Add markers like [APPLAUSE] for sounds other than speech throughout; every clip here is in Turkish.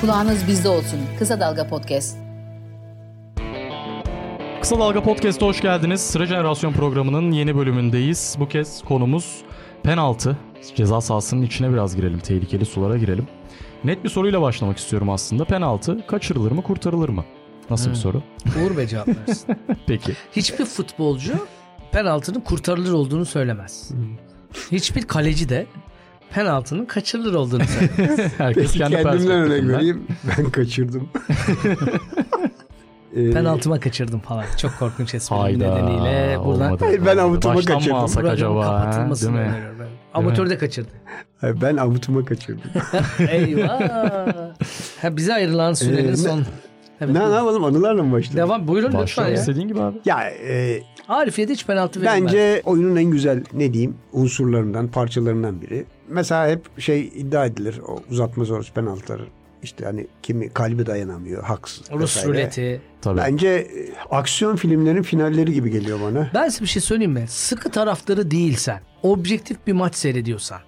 Kulağınız bizde olsun. Kısa Dalga Podcast. Kısa Dalga Podcast'a hoş geldiniz. Sıra Jenerasyon programının yeni bölümündeyiz. Bu kez konumuz penaltı. Ceza sahasının içine biraz girelim, tehlikeli sulara girelim. Net bir soruyla başlamak istiyorum aslında. Penaltı kaçırılır mı, kurtarılır mı? Nasıl bir [LAUGHS] soru? Uğur Bey cevap versin. Peki. [LAUGHS] Hiçbir futbolcu penaltının kurtarılır olduğunu söylemez. Hiçbir kaleci de penaltının kaçırılır olduğunu söylemez. Herkes Peki kendi kendimden örnek perspektifinden. vereyim. [LAUGHS] Ben [LAUGHS] kaçırdım. Ee, Penaltıma kaçırdım falan. Çok korkunç esprim Hayda. nedeniyle buradan olmadı. Hayır, ben avutuma Baştan mı kaçırdım. alsak programın acaba? ha? kapatılmasını Değil mi? öneriyorum ben. Amatör de kaçırdı. hayır, ben avutuma kaçırdım. Eyvah. ha, bize ayrılan [LAUGHS] sürenin Ee, ne- son. Evet. ne, ne yapalım anılarla mı başlayalım? Devam buyurun Başla lütfen ya. istediğin gibi abi. Ya e, Arifiye'de hiç penaltı verilmez. bence oyunun en güzel ne diyeyim unsurlarından parçalarından biri. Mesela hep şey iddia edilir o uzatma sonrası penaltıları. İşte hani kimi kalbi dayanamıyor haksız. Rus vesaire. ruleti. Tabii. Bence e, aksiyon filmlerin finalleri gibi geliyor bana. Ben size bir şey söyleyeyim mi? Sıkı taraftarı değilsen, objektif bir maç seyrediyorsan,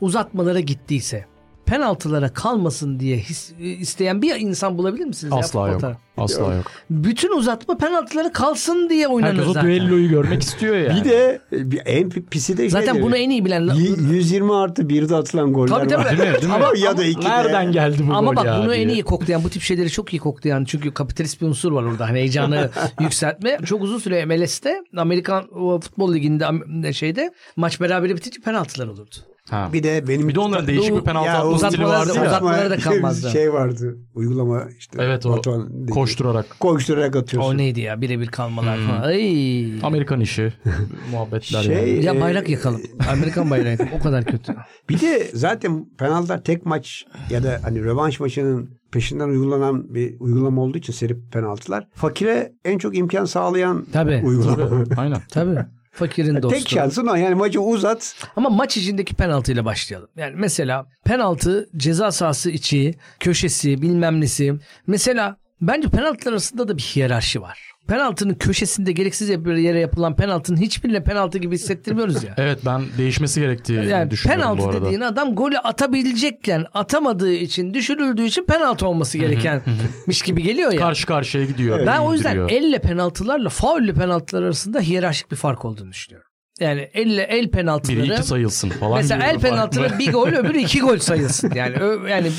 uzatmalara gittiyse, penaltılara kalmasın diye his- e, isteyen bir insan bulabilir misiniz? ya Asla futbol yok. taraf- Asla yok. Bütün uzatma penaltılara kalsın diye oynanır Herkes o zaten. düelloyu görmek istiyor ya. Bir de e, bir- en pisi de Zaten şeydir. bunu en iyi bilen... Y- 120 artı 1'de atılan goller Tabii, tabii. var. Değil mi? Değil mi? Ama ya da ikide. Nereden geldi bu Ama gol bak ya bunu en diye. iyi koklayan, bu tip şeyleri çok iyi koklayan çünkü kapitalist bir unsur var orada. Hani heyecanı [LAUGHS] yükseltme. Çok uzun süre MLS'te, Amerikan o, Futbol Ligi'nde am- şeyde maç berabere bitince penaltılar olurdu. Ha. Bir de benim Bir de onların değişik bir penaltı Ya atma stili uzatmalar- vardı ya. uzat- uzatmalara da kalmazdı. Şey vardı. Uygulama işte. Evet, o Batuhan dedi. Koşturarak. Koşturarak O atıyorsun. neydi ya birebir kalmalar Hmm. falan. Ay. Amerikan [LAUGHS] işi muhabbetler Şey- yani. Ya Ee, bayrak yakalım. Amerikan bayrağı yakalım. O kadar kötü. Bir de zaten penaltılar tek maç ya da hani rövanş maçının peşinden uygulanan bir uygulama olduğu için seri penaltılar. Fakire en çok imkan sağlayan Tabii. uygulama. Aynen. Tabii. Fakirin dostu. Tek şansın o. Yani maçı uzat. Ama maç içindeki penaltıyla başlayalım. Yani mesela penaltı ceza sahası içi, köşesi, bilmem nesi. Mesela bence penaltılar arasında da bir hiyerarşi var. Penaltının köşesinde gereksiz bir yere yapılan penaltının hiçbirine penaltı gibi hissettirmiyoruz ya. [LAUGHS] Evet ben değişmesi gerektiği Yani düşünüyorum bu penaltı arada. dediğin adam golü atabilecekken atamadığı için düşürüldüğü için penaltı olması gerekenmiş gibi geliyor ya. Karşı karşıya gidiyor. Ben o yüzden bildiriyor. elle penaltılarla faulle penaltılar arasında hiyerarşik bir fark olduğunu düşünüyorum. Yani elle el penaltıları biri iki sayılsın falan. mesela el diyorum. penaltıları bir gol öbürü iki gol sayılsın. Yani ö- yani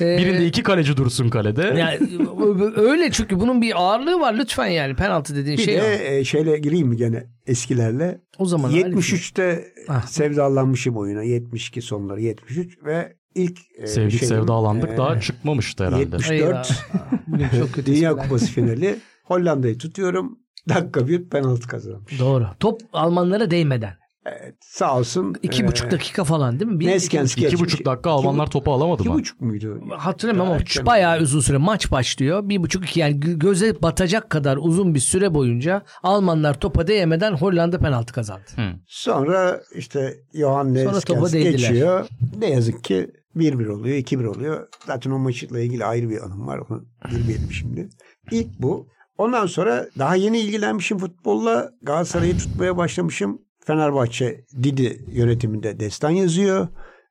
e, Birinde iki kaleci dursun kalede. yani ö- öyle çünkü bunun bir ağırlığı var lütfen yani penaltı dediğin Bir şey o. de e, şeyle gireyim mi gene eskilerle. o zaman 73'te Ah. sevdalanmışım oyuna. 72 sonları 73 ve ilk e, Sevdik şey- şeyim, sevdalandık e, Ee, daha çıkmamıştı herhalde. 70 Arif- 74. Eyvah. Bugün çok kötü. Dünya espriler. Kupası finali Hollanda'yı tutuyorum. Dakika bir penaltı kazanmış. Doğru. Top Almanlara değmeden. Evet, sağ olsun. İki Ee, buçuk dakika falan değil mi? Bir, Neskens İki geçmiş. buçuk dakika Almanlar topu alamadı İki mı? buçuk muydu? Hatırlamıyorum ama Erken. bayağı uzun süre maç başlıyor. Bir buçuk iki yani gö- göze batacak kadar uzun bir süre boyunca Almanlar topa değmeden Hollanda penaltı kazandı. Sonra işte Johan Sonra topa Neskens değdiler. geçiyor. Ne yazık ki 1-1 oluyor, 2-1 oluyor. Zaten o maçla ilgili ayrı bir anım var. Onu girmeyelim şimdi. İlk bu. Ondan sonra daha yeni ilgilenmişim futbolla. Galatasaray'ı tutmaya başlamışım. Fenerbahçe Didi yönetiminde destan yazıyor.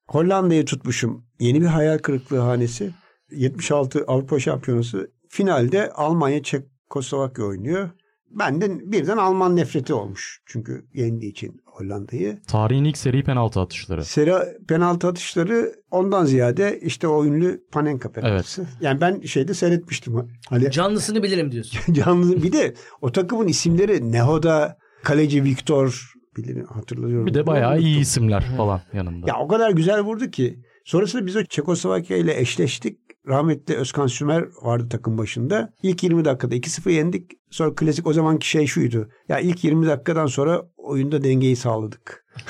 Hollanda'yı tutmuşum. Yeni bir hayal kırıklığı hanesi. 76 Avrupa Şampiyonası. Finalde Almanya Çekoslovakya oynuyor. Benden birden Alman nefreti olmuş. Çünkü yendiği için Hollanda'yı. Tarihin ilk seri penaltı atışları. Seri penaltı atışları ondan ziyade işte o ünlü Panenka penaltısı. Yani ben şeyde seyretmiştim. [LAUGHS] Hani Canlısını bilirim diyorsun. canlı bir de o takımın isimleri Nehoda, kaleci Viktor bilin hatırlıyorum. Bir de bayağı iyi Unuttum. isimler falan yanında. Ya o kadar güzel vurdu ki. Sonrasında biz o Çekoslovakya ile eşleştik. Rahmetli Özkan Sümer vardı takım başında. İlk 20 dakikada 2-0 yendik. Sonra klasik o zamanki şey şuydu. Ya ilk 20 dakikadan sonra oyunda dengeyi sağladık. [LAUGHS]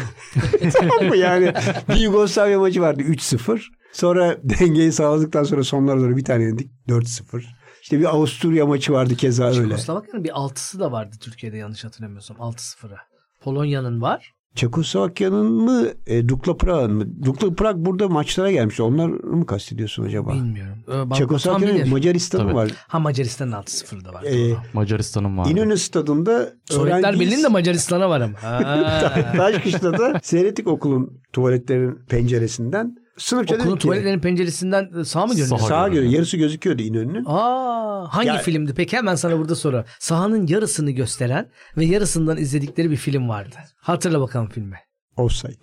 Tamam mı? yani bir Yugoslavya maçı vardı 3-0. Sonra dengeyi sağladıktan sonra sonlara doğru bir tane yendik 4-0. İşte bir Avusturya maçı vardı keza öyle. Yugoslavya'nın bir altısı da vardı Türkiye'de yanlış hatırlamıyorsam. 6-0'a. Polonya'nın var. Çekoslovakya'nın mı e, Dukla Prag'ın mı? Dukla Prag burada maçlara gelmişti. Onları mı kastediyorsun acaba? Bilmiyorum. Ee, bak- tam Çekoslovakya'nın bilir. Macaristan'ı Tabii. var. Ha Macaristan'ın 6-0'da var. Ee, doğru. Macaristan'ın var. İnönü stadında Sovyetler öğrenciyiz. [LAUGHS] Birliği'nin de Macaristan'a var ama. Ha. Taşkış'ta da seyrettik okulun tuvaletlerin penceresinden. Sınıfça Okulun dedik ki tuvaletlerin penceresinden e, sağ mı görünüyor? Sağ. sağa göre yarısı gözüküyordu İnönü'nün. Aa, hangi Ya- filmdi? Peki hemen sana burada soru. Sahanın yarısını gösteren ve yarısından izledikleri bir film vardı. Hatırla bakalım filmi. [LAUGHS] Offside.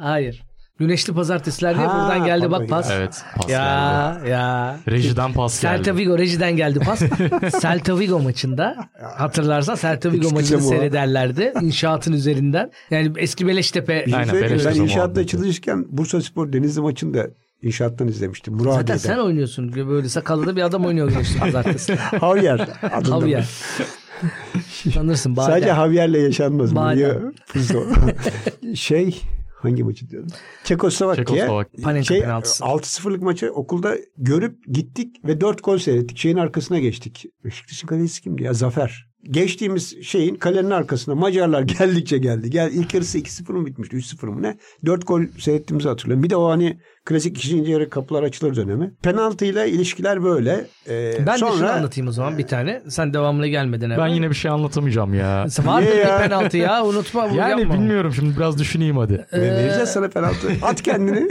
Hayır. Güneşli pazartesiler diye Ha, buradan geldi bak pardon pas. Evet. Pas geldi. Ya ya. Rejiden pas geldi. Celta Vigo rejiden geldi [LAUGHS] pas. Celta Vigo maçında hatırlarsan Celta Vigo Hiç maçını güzel bu. seyrederlerdi inşaatın üzerinden. Yani eski Beleştepe Bir şey Aynen, söyleyeyim mi? Beleş'te Ben zamanında inşaatta yapıyor. çalışırken Bursa Spor Denizli maçını da inşaattan izlemiştim. Zaten Muradiye'den. sen oynuyorsun. Böyle sakalıda bir adam oynuyor Güneşli [LAUGHS] pazartesi. [LAUGHS] Havyer adında. Javier. Sanırsın badem. Sadece Javier'le yaşanmaz. Badem. Maria Puzo. [LAUGHS] şey hangi maçı diyorum? Çekoslovakya. Çekoslovakya. Panenka Şey, penaltısı. 6-0'lık maçı okulda görüp gittik ve 4 gol seyrettik. Şeyin arkasına geçtik. Beşiktaş'ın kalecisi kimdi ya? Zafer. Geçtiğimiz şeyin kalenin arkasına Macarlar [LAUGHS] geldikçe geldi. Gel ilk yarısı 2-0 mı bitmişti? 3-0 mı ne? 4 gol seyrettiğimizi hatırlıyorum. Bir de o hani klasik ikinci yarı kapılar açılır dönemi. Penaltıyla ilişkiler böyle. Ee, Ben sonra, de şunu anlatayım o zaman bir tane. Sen devamlı gelmeden Ben hemen. yine bir şey anlatamayacağım ya. Vardır Niye ya? bir penaltı ya unutma bunu Yani yapma. bilmiyorum şimdi biraz düşüneyim hadi. Ee, Ve vereceğiz sana penaltı. [LAUGHS] At kendini.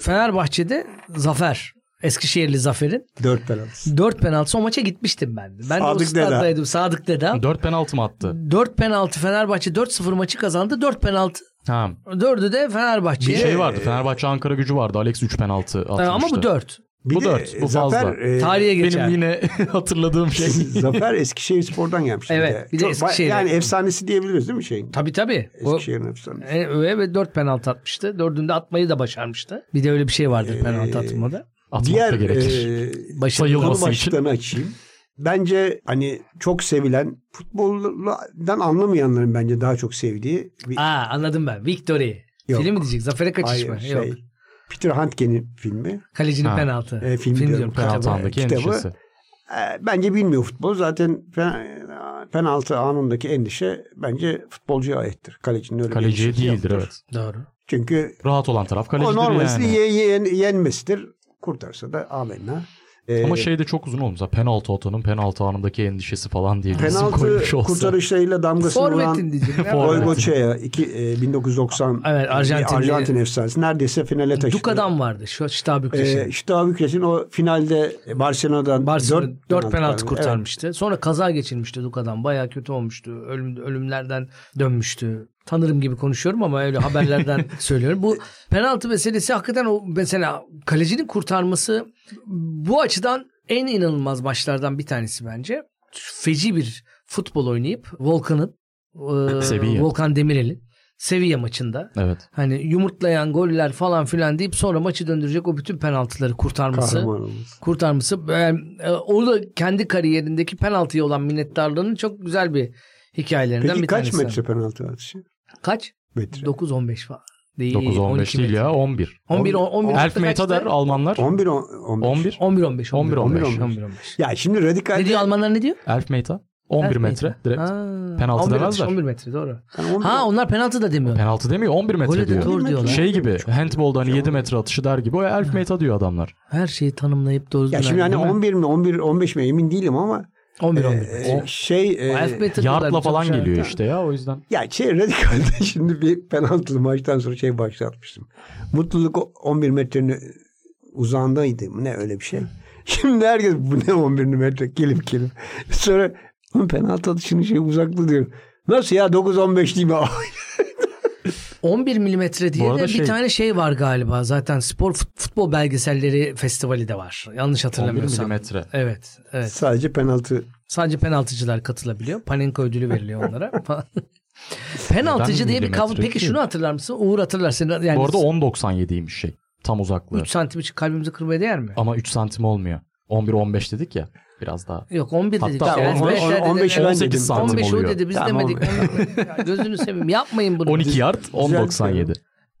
Fenerbahçe'de Zafer. Eskişehirli Zafer'in 4 penaltı. 4 penaltısı o maça gitmiştim ben. de. Ben de o Sadık Deda. staddaydım Sadık Deda. 4 penaltı mı attı? 4 penaltı Fenerbahçe 4-0 maçı kazandı. 4 penaltı. Ha. 4'ü de Bir Fenerbahçe'ye. şey vardı. Fenerbahçe Ankara gücü vardı. Alex 3 penaltı Ee, atmıştı. Ama bu 4. Bir Bu de dört, bu Zafer, fazla. e, [LAUGHS] Tarihe geçer. Benim yine [LAUGHS] hatırladığım şey. Zafer Eskişehir Spor'dan gelmişti. Evet, bir de Çok- Eskişehir'e. Yani efsanesi diyebiliriz değil mi şeyin? Tabii tabii. O, Eskişehir'in efsanesi. E, Ve, ve 4 penaltı atmıştı. 4'ünde atmayı da başarmıştı. Bir de öyle bir şey vardır Ee, penaltı atılmada. Atmak Diğer da gerekir. e, Başarılı sayılmaz. konu olması için. başlıklarını açayım. Bence hani çok sevilen futboldan anlamayanların bence daha çok sevdiği bir Aa anladım ben. Victory. Yok. Film mi diyecek? Zafere kaçış Hayır, mı? şey, Yok. Peter Handke'nin filmi. Kalecinin Ha. penaltı. E, film diyorum, kitabı. Penaltı andaki Kitabı. endişesi. E, Bence bilmiyor futbol. Zaten pen- penaltı anındaki endişe bence futbolcuya aittir. Kalecinin öyle bir Kaleciye şey endişesi değildir yoktur. evet. Doğru. Çünkü Rahat olan taraf o kalecidir normalisi yani. ye- ye- yenmesidir. Kurtarsa da amenna. E, Ama şey de çok uzun olmuş. Penaltı atanın penaltı anındaki endişesi falan diye bir isim penaltı koymuş olsa. kurtarışlarıyla damgasını Forvet'in vuran [LAUGHS] diyeceğim. Forvet. Ya. Goygoçe'ye iki, e, 1990 Evet, Arjantinli- Arjantin efsanesi neredeyse finale taşıdı. Duka'dan vardı. Şu Şitabük e, işte Bükreş'in o finalde Barcelona'dan Barcelona 4, 4, penaltı kurtarmıştı. Sonra kaza geçirmişti Duka'dan. Bayağı kötü olmuştu. Ölüm, ölümlerden dönmüştü. Tanırım gibi konuşuyorum ama öyle haberlerden söylüyorum. Bu penaltı meselesi hakikaten o mesela kalecinin kurtarması bu açıdan en inanılmaz maçlardan bir tanesi bence. Feci bir futbol oynayıp Volkan'ın e, Sevilla. Volkan Demirel'in Sevilla maçında Evet. hani yumurtlayan goller falan filan deyip sonra maçı döndürecek o bütün penaltıları kurtarması Kahramanımız. kurtarması. Ben, e, o da kendi kariyerindeki penaltıya olan minnettarlığının çok güzel bir hikayelerinden Peki bir kaç tanesi. metre penaltı atışı? Kaç? Metre. 9-15 falan. Değil, 9-15 12 değil metre. ya 11. 11 11 Elf Meter Almanlar 11 on- 11. 11. 11 15 11 11, 11 11. 11 15. Ya şimdi radikal Ne diyor Almanlar ne diyor? Elf Meter 11 Elf metre direkt. Ha, Penaltı 11 demezler. 11 metre doğru. Yani 11 Ha onlar penaltı da demiyor. Penaltı demiyor 11 metre Golü de diyor. doğru diyorlar. Şey gibi handbolda hani 7 metre atışı der gibi o elf metre diyor adamlar. Her şeyi tanımlayıp doğru. ya şimdi hani 11 mi 11 15 mi emin değilim ama 11 11. e, şey e, Elf metre Yardla diyorlar, falan çok şey- geliyor işte ya o yüzden. Ya şey radikalde [LAUGHS] şimdi bir penaltılı maçtan sonra şey başlatmıştım. Mutluluk o- 11 metrenin uzağındaydı mı ne öyle bir şey. [LAUGHS] Şimdi herkes bu ne 11 metre kelim kelim. [LAUGHS] Sonra "Oğlum penaltı atışının şey uzaklığı diyor. Nasıl ya 9-15 değil mi? [LAUGHS] 11 milimetre Bu diye arada de şey- bir tane şey var galiba zaten spor fut- futbol belgeselleri festivali de var. 11 Yanlış hatırlamıyorsam. milimetre. Evet, evet. Sadece penaltı. Sadece penaltıcılar katılabiliyor. Panenka ödülü veriliyor [LAUGHS] onlara. falan. Penaltıcı Neden diye bir kavram. milimetre Peki ki? şunu hatırlar mısın? Uğur hatırlar seni. Yani Bu arada 10.97'ymiş şey. Tam uzaklığı. 3 santim için kalbimizi kırmaya değer mi? Ama 3 santim olmuyor. 11-15 dedik ya biraz daha. Yok 11 dedik. Hatta Yani on- beşler on- dedi, on beş evet. ben 18 dedim. santim 15 o oluyor. dedi biz Tamam. demedik. Ya Gözünü seveyim yapmayın [LAUGHS] bunu. 12 yard 10.97.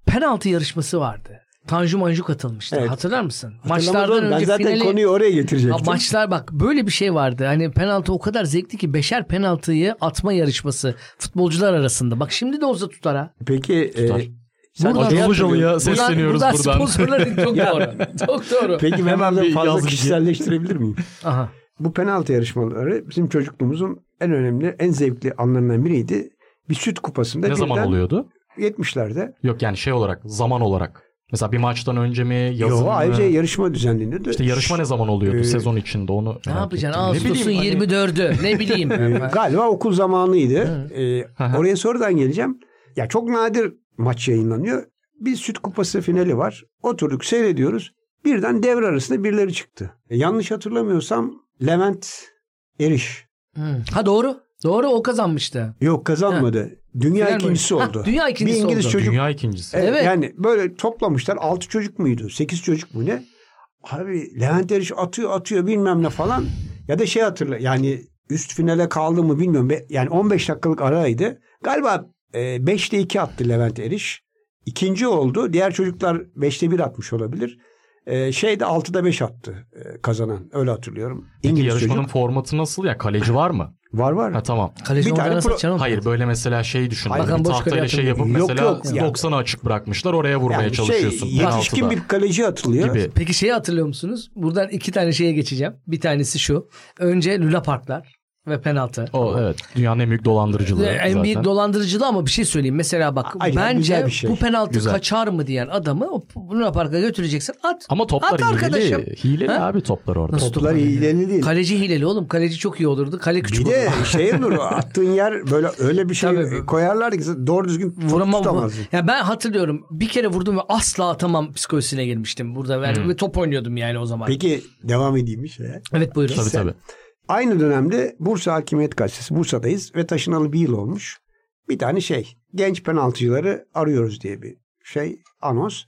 Penaltı yarışması vardı. Tanju Manju katılmıştı. Evet. Hatırlar mısın? Hatırlamadım. Maçlardan önce ben zaten finali... konuyu oraya Ya getirecektim. maçlar bak böyle bir şey vardı. Hani penaltı o kadar zevkli ki beşer penaltıyı atma yarışması futbolcular arasında. Bak şimdi de olsa tutar ha. Peki e, Tutar. sen- Buradan- Acun Ilıcalı'ya sesleniyoruz buradan. Buradan sponsorların [LAUGHS] çok doğru. çok doğru. Peki ben Hemen bunu bir yaz fazla bilgi. kişiselleştirebilir miyim? Aha. Bu penaltı yarışmaları bizim çocukluğumuzun en önemli, en zevkli anlarından biriydi. Bir süt kupasında Ne zaman birden- oluyordu? 70'lerde. Yok yani şey olarak zaman olarak. Mesela bir maçtan önce mi yazın Yo, mı? ayrıca yarışma düzenlenirdi. İşte yarışma ne zaman oluyor Ee, bu sezon içinde onu merak Ne ettim. yapacaksın? Ne Ağustos'un bileyim, hani- 24'ü. Ne [LAUGHS] bileyim. Ee, Galiba okul zamanıydı. Ee, Aha. oraya sonradan geleceğim. Ya çok nadir maç yayınlanıyor. Bir süt kupası finali var. Oturduk seyrediyoruz. Birden devre arasında birileri çıktı. E, yanlış hatırlamıyorsam Levent Eriş. Hı. ha doğru. Doğru o kazanmıştı. Yok kazanmadı. Dünya Final ikincisi boyu. oldu. Ha, dünya ikincisi Bir İngiliz oldu. çocuk. Dünya ikincisi. Evet, Evet. Yani böyle toplamışlar. 6 çocuk muydu? 8 çocuk mu ne? Abi Levent Eriş atıyor atıyor bilmem ne falan. Ya da şey hatırla yani üst finale kaldı mı bilmiyorum. Be- Yani 15 dakikalık araydı. Galiba 5'te 2 attı Levent Eriş. İkinci oldu. Diğer çocuklar 5'te 1 atmış olabilir. E, Şey de 6'da 5 attı e, kazanan. Öyle hatırlıyorum. Peki İngiliz yarışmanın çocuk. formatı nasıl ya? Kaleci var mı? Var var. Ha [LAUGHS] tamam. Kaleci Bir tane olacağını pro- satacağını Hayır böyle mesela şey düşün. Hayır, Hani Hakan bir Bozkır'ı tahtayla şey yapıp hatırlıyorum. mesela Yok, yok yani. 90'a açık bırakmışlar oraya vurmaya Yani çalışıyorsun. Şey, yetişkin penaltıda bir kaleci atılıyor. gibi. Peki şeyi hatırlıyor musunuz? Buradan iki tane şeye geçeceğim. Bir tanesi şu. Önce Luna Parklar ve penaltı. O evet. Dünyanın en büyük dolandırıcılığı En zaten. büyük dolandırıcılığı ama bir şey söyleyeyim. Mesela bak Aynen, bence güzel bir şey. bu penaltı Güzel. kaçar mı diyen adamı o Luna Park'a götüreceksin. At. Ama At toplar arkadaşım. hileli. Hileli Ha? abi toplar orada. Nasıl Toplar iyilerini değil. Kaleci hileli oğlum. Kaleci çok iyi olurdu. Kale küçük Bir olurdu. de [LAUGHS] [LAUGHS] şey olur attığın yer böyle öyle bir şey Tabii. koyarlardı ki doğru düzgün Vuramam. tutamazdın. Ya ben hatırlıyorum. Bir kere vurdum ve asla atamam psikolojisine girmiştim burada. Ben Hmm. ve top oynuyordum yani o zaman. Peki devam edeyim mi şeye? Evet buyurun. Tabii tabii. Aynı dönemde Bursa Hakimiyet Gazetesi Bursa'dayız ve taşınalı bir yıl olmuş. Bir tane şey genç penaltıcıları arıyoruz diye bir şey anons.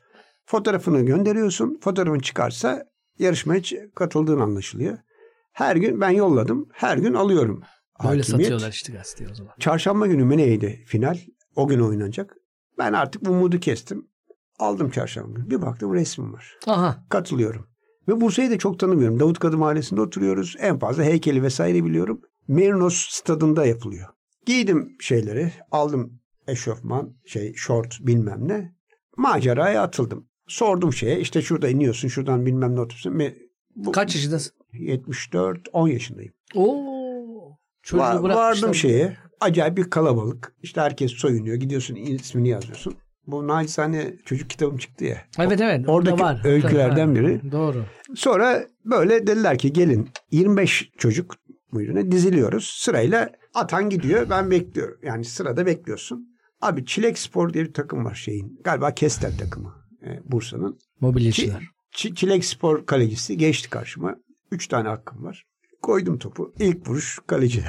Fotoğrafını gönderiyorsun. Fotoğrafın çıkarsa yarışmaya ç- katıldığın anlaşılıyor. Her gün ben yolladım. Her gün alıyorum. Böyle Hakimiyet. satıyorlar işte gazeteyi o zaman. Çarşamba günü mü neydi final? O gün oynanacak. Ben artık umudu kestim. Aldım çarşamba günü. Bir baktım resmim var. Aha. Katılıyorum. Ve Bursa'yı da çok tanımıyorum. Davutkadı Mahallesi'nde oturuyoruz. En fazla heykeli vesaire biliyorum. Merinos stadında yapılıyor. Giydim şeyleri. Aldım eşofman, şey, şort bilmem ne. Maceraya atıldım. Sordum şeye işte şurada iniyorsun şuradan bilmem ne otobüsün. Me- bu- Kaç yaşındasın? 74, 10 yaşındayım. Oo. Çocuğu Va- bırakmışlar. vardım şeye. Acayip bir kalabalık. İşte herkes soyunuyor. Gidiyorsun ismini yazıyorsun. Bu nacizane çocuk kitabım çıktı ya. Evet evet. orada Oradaki var. öykülerden Tabii, biri. Doğru. Sonra böyle dediler ki gelin 25 çocuk buyurun e, diziliyoruz. Sırayla atan gidiyor ben bekliyorum. Yani sırada bekliyorsun. Abi Çilek Spor diye bir takım var şeyin. Galiba Kestel takımı e, Bursa'nın. Mobilyacılar. Çi- Çilek Spor kalecisi geçti karşıma. Üç tane hakkım var. Koydum topu. İlk vuruş kaleci.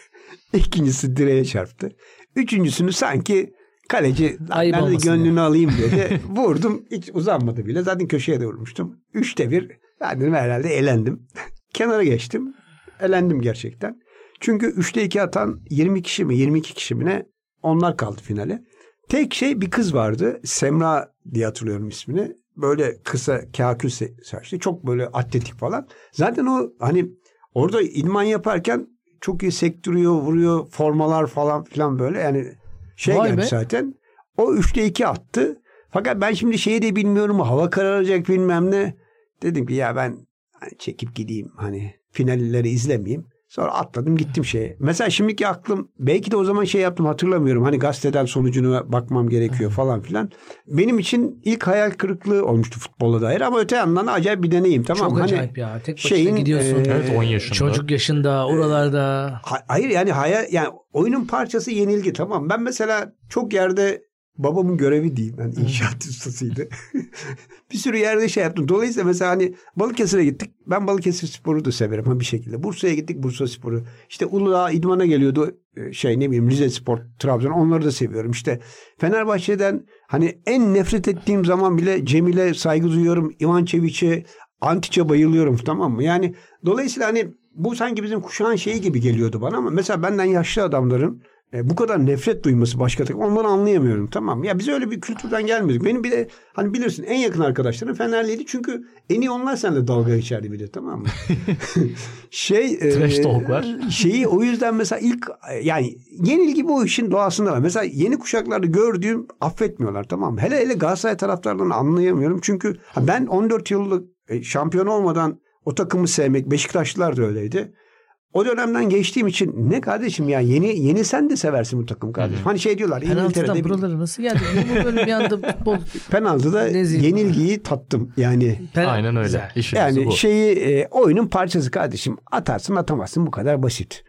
[LAUGHS] İkincisi direğe çarptı. Üçüncüsünü sanki kaleci "Lan Ayıp ben de olmasın gönlünü alayım [LAUGHS] dedi. Vurdum. Hiç uzanmadı bile. Zaten köşeye de vurmuştum. Üçte bir. Ben dedim herhalde elendim. [LAUGHS] Kenara geçtim. Elendim gerçekten. Çünkü üçte iki atan 20 kişi mi 22 kişi mi ne onlar kaldı finale. Tek şey bir kız vardı. Semra diye hatırlıyorum ismini. Böyle kısa kakül se- saçlı. Çok böyle atletik falan. Zaten o hani orada idman yaparken çok iyi sektiriyor, vuruyor. Formalar falan filan böyle. Yani şey Vay gelmiş be. zaten. O üçte iki attı. Fakat ben şimdi şeyi de bilmiyorum. Hava kararacak bilmem ne. Dedim ki ya ben hani çekip gideyim. Hani finalleri izlemeyeyim. Sonra atladım gittim şeye. Mesela şimdiki aklım belki de o zaman şey yaptım hatırlamıyorum. Hani gazeteden sonucuna bakmam gerekiyor falan filan. Benim için ilk hayal kırıklığı olmuştu futbola dair ama öte yandan acayip bir deneyim tamam. Çok hani, acayip ya. Tek başına şeyin, gidiyorsun. e, Evet 10 yaşında. Çocuk yaşında oralarda. Ha- hayır yani hayal yani oyunun parçası yenilgi tamam. Ben mesela çok yerde babamın görevi diyeyim yani inşaat [LAUGHS] ustasıydı. bir sürü yerde şey yaptım. Dolayısıyla mesela hani Balıkesir'e gittik. Ben Balıkesir sporu da severim ha bir şekilde. Bursa'ya gittik Bursa sporu. İşte Uludağ idmana geliyordu e, şey ne bileyim Rize Spor, Trabzon onları da seviyorum. İşte Fenerbahçe'den hani en nefret ettiğim zaman bile Cemil'e saygı duyuyorum. İvan Çeviç'e, Antiç'e bayılıyorum tamam mı? Yani dolayısıyla hani bu sanki bizim kuşağın şeyi gibi geliyordu bana ama mesela benden yaşlı adamların e, bu kadar nefret duyması başka takım onları anlayamıyorum tamam mı? Ya biz öyle bir kültürden gelmedik. Benim bir de hani bilirsin en yakın arkadaşlarım Fenerliydi çünkü en iyi onlar seninle dalga geçerdi bir de [LAUGHS] tamam mı? şey e, Trash talklar. şeyi o yüzden mesela ilk yani yenilgi bu işin doğasında var. Mesela yeni kuşaklarda gördüğüm affetmiyorlar tamam mı? Hele hele Galatasaray taraftarlarını anlayamıyorum. Çünkü ha, ben 14 yıllık e, şampiyon olmadan o takımı sevmek Beşiktaşlılar da öyleydi. O dönemden geçtiğim için ne kardeşim ya yeni yeni sen de seversin bu takım kardeşim. Hani şey diyorlar Penaltıdan İngiltere'de bir- buralara nasıl geldi? Bu böyle bir anda futbol. penaltıda Nezih. yenilgiyi tattım yani. Penal- Aynen öyle. Güzel. şey- İşimiz Yani bu. şeyi e, oyunun parçası kardeşim. Atarsın atamazsın bu kadar basit.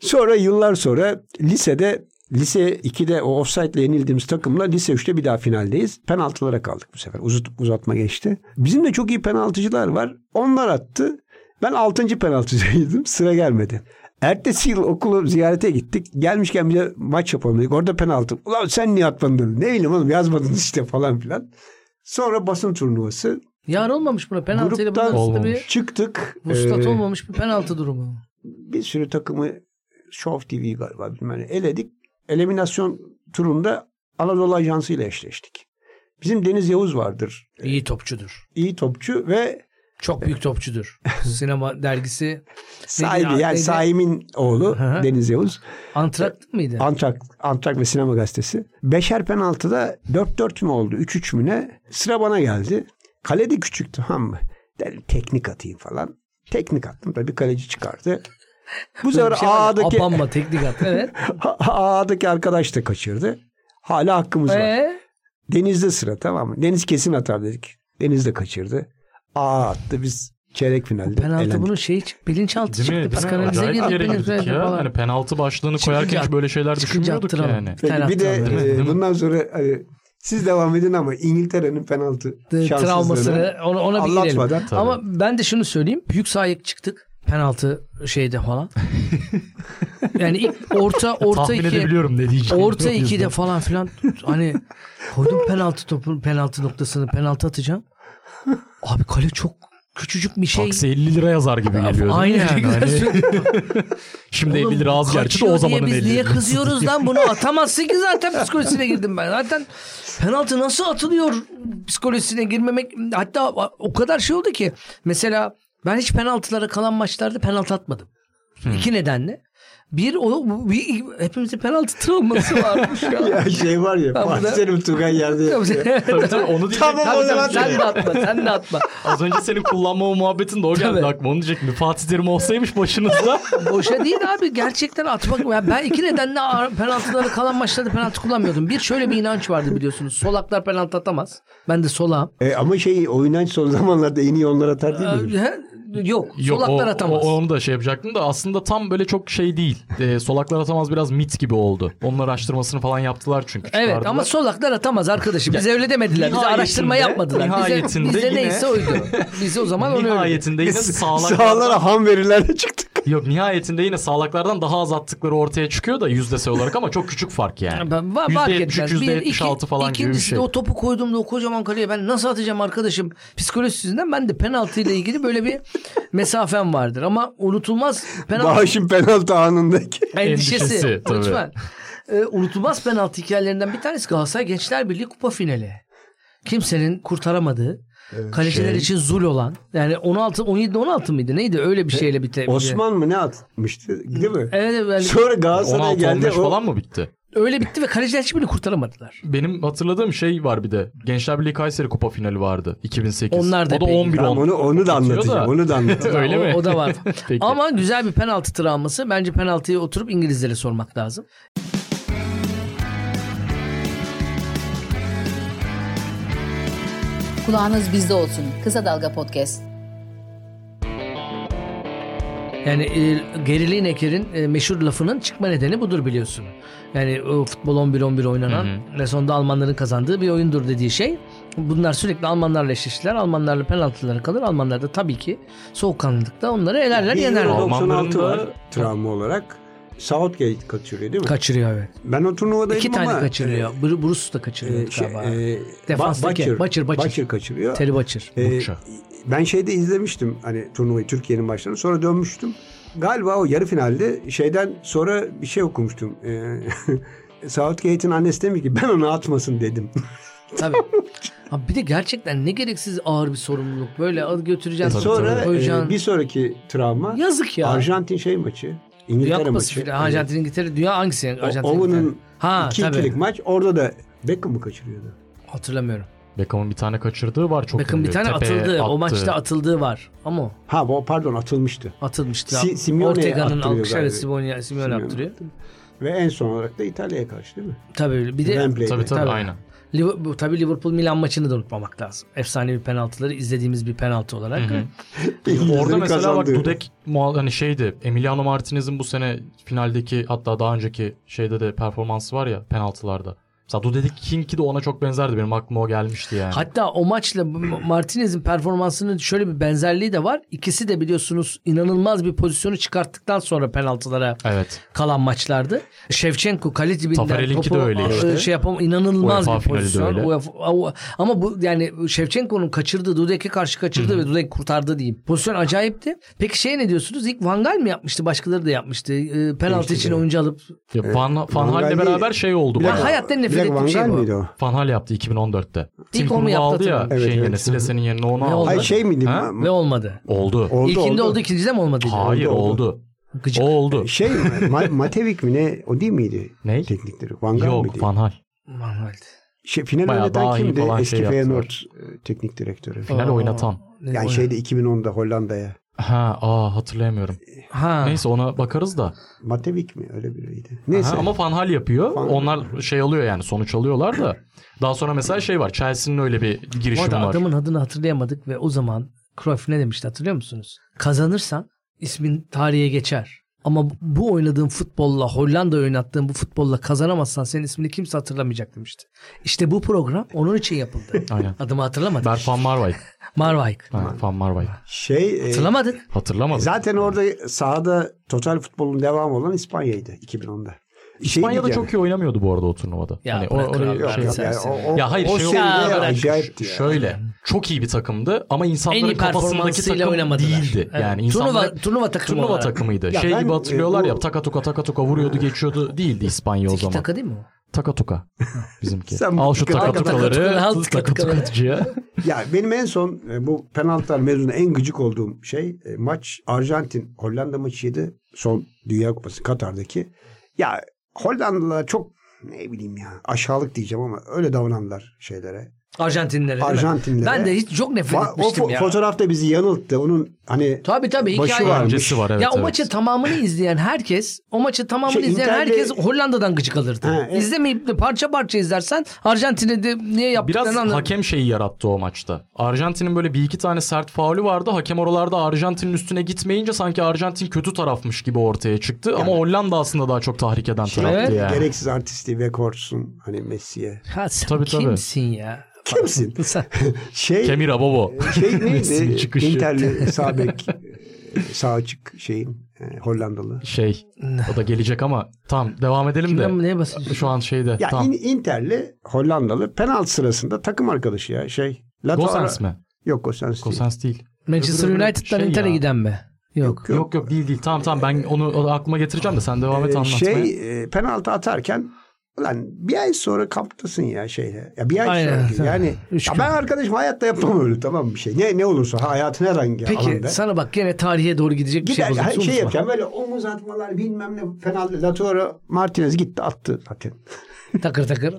Sonra yıllar sonra lisede lise 2'de o offside'le yenildiğimiz takımla lise 3'te bir daha finaldeyiz. Penaltılara kaldık bu sefer. Uzat, uzatma geçti. Bizim de çok iyi penaltıcılar var. Onlar attı. Ben 6. penaltıcıydım. [LAUGHS] Sıra gelmedi. Ertesi yıl okulu ziyarete gittik. Gelmişken bize maç yapalım dedik. Orada penaltı. Ulan sen niye atmadın? Ne bileyim oğlum yazmadınız işte falan filan. Sonra basın turnuvası. Yar olmamış buna. Penaltıyla bunun Gruptan arasında Olmamış. bir Çıktık. vuslat Ee, olmamış bir penaltı durumu. bir sürü takımı Show TV galiba bilmem ne eledik. Eliminasyon turunda Anadolu Ajansı ile eşleştik. Bizim Deniz Yavuz vardır. İyi topçudur. İyi topçu ve Çok büyük [LAUGHS] topçudur. Sinema dergisi sahibi yani neydi? Saim'in oğlu Hı hı. Deniz Yavuz. Antrakt mıydı? Antrak, Antrak ve Sinema Gazetesi. Beşer penaltıda 4-4 mü oldu? 3-3 mü ne? Sıra bana geldi. Kale de küçük tamam mı? Dedim teknik atayım falan. Teknik attım tabii kaleci çıkardı. Bu Böyle sefer bir şey var ya, A'daki Apanma teknik at. [LAUGHS] Evet. A'daki arkadaş da kaçırdı. Hala hakkımız var. Ee, Deniz'de sıra tamam mı? Deniz kesin atar dedik. Deniz de kaçırdı. A attı biz çeyrek finalde. penaltı elendik. bunun şeyi çık- bilinçaltı Değil mi? çıktı. Psikanalize Acayip girdi. yere bilinçaltı girdik ya. falan. Hani penaltı başlığını Çıkınca koyarken hiç böyle şeyler çıkınca düşünmüyorduk attıralım. yani. Peki, bir de Penaltı aldı. e, bundan sonra e, siz devam edin ama İngiltere'nin penaltı De- şanssızlığını travmasını ona, ona bir girelim. anlatmadan Tabii. Ama ben de şunu söyleyeyim. Büyük sahaya çıktık. Penaltı şeyde falan. yani ilk orta orta Tahmin iki edebiliyorum ne diyeceğini. orta Yok, ikide yüzde. falan filan hani koydum penaltı topu penaltı noktasını penaltı atacağım. Abi kale çok küçücük bir şey. Taksi 50 lira yazar gibi geliyor. değil mi? Aynen. [LAUGHS] Yani hani- şimdi 50 lira az gerçi de kaçıyor o diye zamanın 50 biz niye lirası. kızıyoruz lan bunu atamazsın ki zaten psikolojisine girdim ben. Zaten penaltı nasıl atılıyor psikolojisine girmemek hatta o kadar şey oldu ki mesela ben hiç penaltılara kalan maçlarda penaltı atmadım. İki nedenle. Bir, o, bir hepimizin penaltı travması [LAUGHS] varmış ya. Ya [LAUGHS] şey [LAUGHS] var ya Tamam, Fatih da- Selim Tugay yerde yapıyor. Tabii tabii onu diyecektim. Tamam, o Tabii, zaman- tabii. sen de atma sen de atma. Az önce senin kullanma o muhabbetin de o geldi Tabii. aklıma. Onu diyecektim. Fatih Terim olsaymış [LAUGHS] başınızda. Boşa değil abi gerçekten atmak. Ya ben iki nedenle ağır- penaltıları kalan maçlarda penaltı kullanmıyordum. Bir şöyle bir inanç vardı biliyorsunuz. Solaklar penaltı atamaz. Ben de solağım. E, ama şey oynaç son zamanlarda en iyi onlar atar değil mi? Ee, Yok, Yok o, solaklar atamaz. o- onu da şey yapacaktım da aslında tam böyle çok şey değil. Ee, solaklar atamaz biraz mit gibi oldu. Onun araştırmasını falan yaptılar çünkü. Evet çıkardılar. ama solaklar atamaz arkadaşım. Bize öyle demediler. Bize Nihayetinde- araştırma yapmadılar. Bize, nihayetinde bize yine- neyse oydu. Bize [LAUGHS] o zaman onu öyle. nihayetinde [LAUGHS] yine sağlak. Sağlara ham verilerle çıktık. Yok nihayetinde yine sağlaklardan daha az attıkları ortaya çıkıyor da yüzdesel olarak ama çok küçük fark [LAUGHS] yani. Ben, va- fark etmez. %73, Bir, iki- %76 falan gibi bir ikincisi şey. de o topu koyduğumda o kocaman kaleye ben nasıl atacağım arkadaşım? Psikolojisi yüzünden ben de penaltıyla ilgili [LAUGHS] böyle bir mesafem vardır. Ama unutulmaz penaltı Bağış'ın penaltı anındaki. endişesi. Endişesi, tabii. Lütfen. Ee, unutulmaz penaltı hikayelerinden bir tanesi Galatasaray Gençler Birliği Kupa finali. Kimsenin kurtaramadığı, kaleciler şey- için zul olan. Yani 16 17 16 mıydı? Neydi? Öyle bir şeyle bir tebrik. Osman mı ne atmıştı değil mi? Evet, evet. Sonra Galatasaray geldi. 16-15 O, falan mı bitti? öyle bitti ve kaleciler hiçbirini kurtaramadılar. Benim hatırladığım şey var bir de. Gençler Birliği Kayseri Kupa finali vardı 2008. Onlar da o da pek- 11 Tamam, onu, onu da anlatacağım. Onu da [LAUGHS] [LAUGHS] anlatacağım. Öyle o, mi? o da var. [LAUGHS] Peki. Ama güzel bir penaltı travması. Bence penaltıyı oturup İngilizlere sormak lazım. Kulağınız bizde olsun. Kısa Dalga Podcast. Yani e, Gerili Neker'in e, meşhur lafının çıkma nedeni budur biliyorsun. Yani o futbol 11-11 oynanan Hı ve sonunda Almanların kazandığı bir oyundur dediği şey. Bunlar sürekli Almanlarla eşleştiler. Almanlarla penaltıları kalır. Almanlar da tabii ki soğukkanlılıkta onları elerler yenerler. Euro- Almanların 96 da- var travma olarak. Southgate kaçırıyor değil mi? Kaçırıyor evet. ben o turnuvadayım İki ama. tane kaçırıyor. Bru- Bruce da kaçırıyor e, şey, galiba. e, Defanstaki, Ba- Butcher, Butcher. Butcher kaçırıyor. Terry Butcher. E, Butcher. ben şeyde izlemiştim hani turnuvayı Türkiye'nin başlarını. Sonra dönmüştüm. Galiba o yarı finalde şeyden sonra bir şey okumuştum. E, [LAUGHS] Southgate'in annesi demiş ki ben onu atmasın dedim. Tabii. Abi bir de gerçekten ne gereksiz ağır bir sorumluluk. Böyle al götüreceğim. Tabii, sonra tabii. e, koyacaksın. bir sonraki travma Yazık ya. Arjantin şey maçı. Dünya İngiltere Kupası maçı. finali. Arjantin İngiltere dünya hangisi? Arjantin Owen'ın İngiltere. Ha İki tabii. ikilik maç. Orada da Beckham'ı kaçırıyordu. Hatırlamıyorum. Beckham'ın bir tane kaçırdığı var çok. Bakın bir ünlü. tane Tepeye atıldı. O attı. maçta atıldığı var. Ama o Ha o pardon atılmıştı. atılmıştı. Si- Simeone'ye Ortega'nın attırıyor alkış evet galiba. Simeone, Simeone Simeone. attırıyor. Ve en son olarak da İtalya'ya karşı değil mi? Tabii bir de Wembley'de. Tabii tabii, Tabii. aynen. Liv- bu- tabii Liverpool Milan maçını da unutmamak lazım. Efsanevi penaltıları izlediğimiz bir penaltı olarak. İngilizlerin Orada mesela bak kazandığı. Dudek muha- hani şeydi Emiliano Martinez'in bu sene finaldeki hatta daha önceki şeyde de performansı var ya penaltılarda. Mesela Dudek'inki de ona çok benzerdi benim aklıma o gelmişti yani. Hatta o maçla bu- Martinez'in performansının şöyle bir benzerliği de var. İkisi de biliyorsunuz inanılmaz bir pozisyonu çıkarttıktan sonra penaltılara Evet. kalan maçlardı. Şevçenko kale dibinden Tafarel'inki topu de öyle a- işte. şey yapam inanılmaz UEFA bir finali de pozisyon. öyle. UEFA o- ama bu yani Şevçenko'nun kaçırdığı Dudek'e karşı kaçırdı ve Dudek kurtardı diyeyim. Pozisyon acayipti. Peki şey ne diyorsunuz? İlk Van Gaal mi yapmıştı? Başkaları da yapmıştı. Ee, penaltı Demişti için de. oyuncu alıp Ya Van, Van Van Hal'le Gaal değil. beraber şey oldu. Bir bana. dakika, hayatta nefret bir dakika, ettiğim Van şey Gaal bu. miydi o? Van Hal yaptı 2014'te. Tim o mu Kuhn'u yaptı aldı ya hatırlıyorum. Evet, şeyin evet. yerine Silesen'in yerine onu Ne aldı. oldu? Hayır şey miydi? Ha? Ma- ve olmadı. Oldu. Oldu, İlkinde oldu. oldu, ikincide mi olmadı? Hayır Oldu, oldu. oldu. Gıcık. O oldu. Şey [LAUGHS] mi? Ma- Matevik mi ne? O değil miydi? Ne? Teknikleri. Van Gaal mıydı? Yok Van Hal. Van Gaal'di. Şey, final Bayağı oynatan daha iyi kimdi? falan şey Eski yaptılar. Feyenoord e, teknik direktörü. Final Aa. oynatan. Ne Yani oyna- şeyde 2010'da Hollanda'ya. Ha, aa hatırlayamıyorum. Ha. Neyse ona bakarız da. Matevik mi? Öyle biriydi. Neyse. Aha, ama fanhal yapıyor. Van- Onlar şey alıyor yani sonuç alıyorlar da. Daha sonra mesela şey var. Chelsea'nin öyle bir Bu girişimi arada var. adamın adını hatırlayamadık ve o zaman Cruyff ne demişti hatırlıyor musunuz? Kazanırsan ismin tarihe geçer. Ama bu oynadığın futbolla, Hollanda oynattığın bu futbolla kazanamazsan senin ismini kimse hatırlamayacak demişti. İşte bu program onun için yapıldı. [LAUGHS] Aynen. Adımı hatırlamadık. Berk Van Marwijk. Marwijk. Ha, Van Marwijk. şey e, Hatırlamadık. Hatırlamadım. zaten orada sahada total futbolun devamı olan İspanya'ydı 2010'da. Şey İspanya'da değil çok yani. iyi oynamıyordu bu arada o turnuvada. Ya hani o, bırakın oraya abi, Yok, şey ya, yani sen- o, o, Ya hayır, o şey- seviye Ya bırak. acayipti ya. şey. Şöyle çok iyi bir takımdı ama En iyi insanların kafasındaki performansıyla takım oynamadılar. değildi. Evet. Yani turnuva, insanlar turnuva takımı turnuva olarak. takımıydı. Ya şey ben, gibi hatırlıyorlar e, ya bu- taka tuka taka tuka vuruyordu geçiyordu. Değildi İspanya o Tiki zaman. taka değil mi o? Taka [LAUGHS] tuka bizimki. Sen bu Al şu taka taka taka tukaları. taka Al tuka- taka [LAUGHS] tukacıya. Ya benim en son e, bu penaltılar mevzuna en gıcık olduğum şey e, maç Arjantin Hollanda maçıydı. Son Dünya Kupası Katar'daki. Ya Hollandalılar çok ne bileyim ya aşağılık diyeceğim ama öyle davrananlar şeylere. Arjantinlere. değil mi? Arjantinlere. Ben de hiç çok nefret Va- o etmiştim fo- ya. fotoğrafta bizi yanılttı. Onun hani Tabii tabii Başı hikaye. var. Öncesi var evet. ya o evet. maçı tamamını izleyen herkes, o maçı tamamını Şey, izleyen Inter'de- herkes Hollanda'dan gıcık alırdı. Ha, evet. İzlemeyip de parça parça izlersen Arjantin'e de niye yaptıklarını Biraz anlarım. hakem şeyi yarattı o maçta. Arjantin'in böyle bir iki tane sert faulü vardı. Hakem oralarda Arjantin'in üstüne gitmeyince sanki Arjantin kötü tarafmış gibi ortaya çıktı. Ama Hollanda aslında daha çok tahrik eden şey, taraftı Evet. yani. gereksiz artisti ve korsun hani Messi'ye. Ha sen Tabii, tabii. kimsin ya? Kimsin? Sen- Şey Kemira Bobo. [LAUGHS] şey Messi'nin neydi? çıkışı. Interli sağ bek e, sağ açık şeyin e, Hollandalı. Şey o da gelecek ama tam devam edelim Kimden de. neye basıyorsun? Şu an şeyde Ya tam. in- Interli Hollandalı penaltı sırasında takım arkadaşı ya şey. Lato Gosens mi? Yok Gosens değil. Gosens değil. Manchester Öbürü böyle United'dan şey Inter'e ya. giden mi? Yok. Yok yok değil değil. Tamam tamam ben onu o- aklıma getireceğim de sen devam et Ee, anlatmaya. Şey e, penaltı atarken ulan bir ay sonra kamptasın ya şeyle. Ya bir ay Aynen, sonra. tamam. değil. Yani Üç ya gün. ben arkadaşım hayatta yapmam öyle tamam bir şey. Ne ne olursa ha, hayatın herhangi Peki alanda. sana bak gene tarihe doğru gidecek bir Gider şey şey, buldum. şey yapacağım böyle omuz atmalar bilmem ne penaltı Lautaro Martinez gitti attı zaten. Takır takır.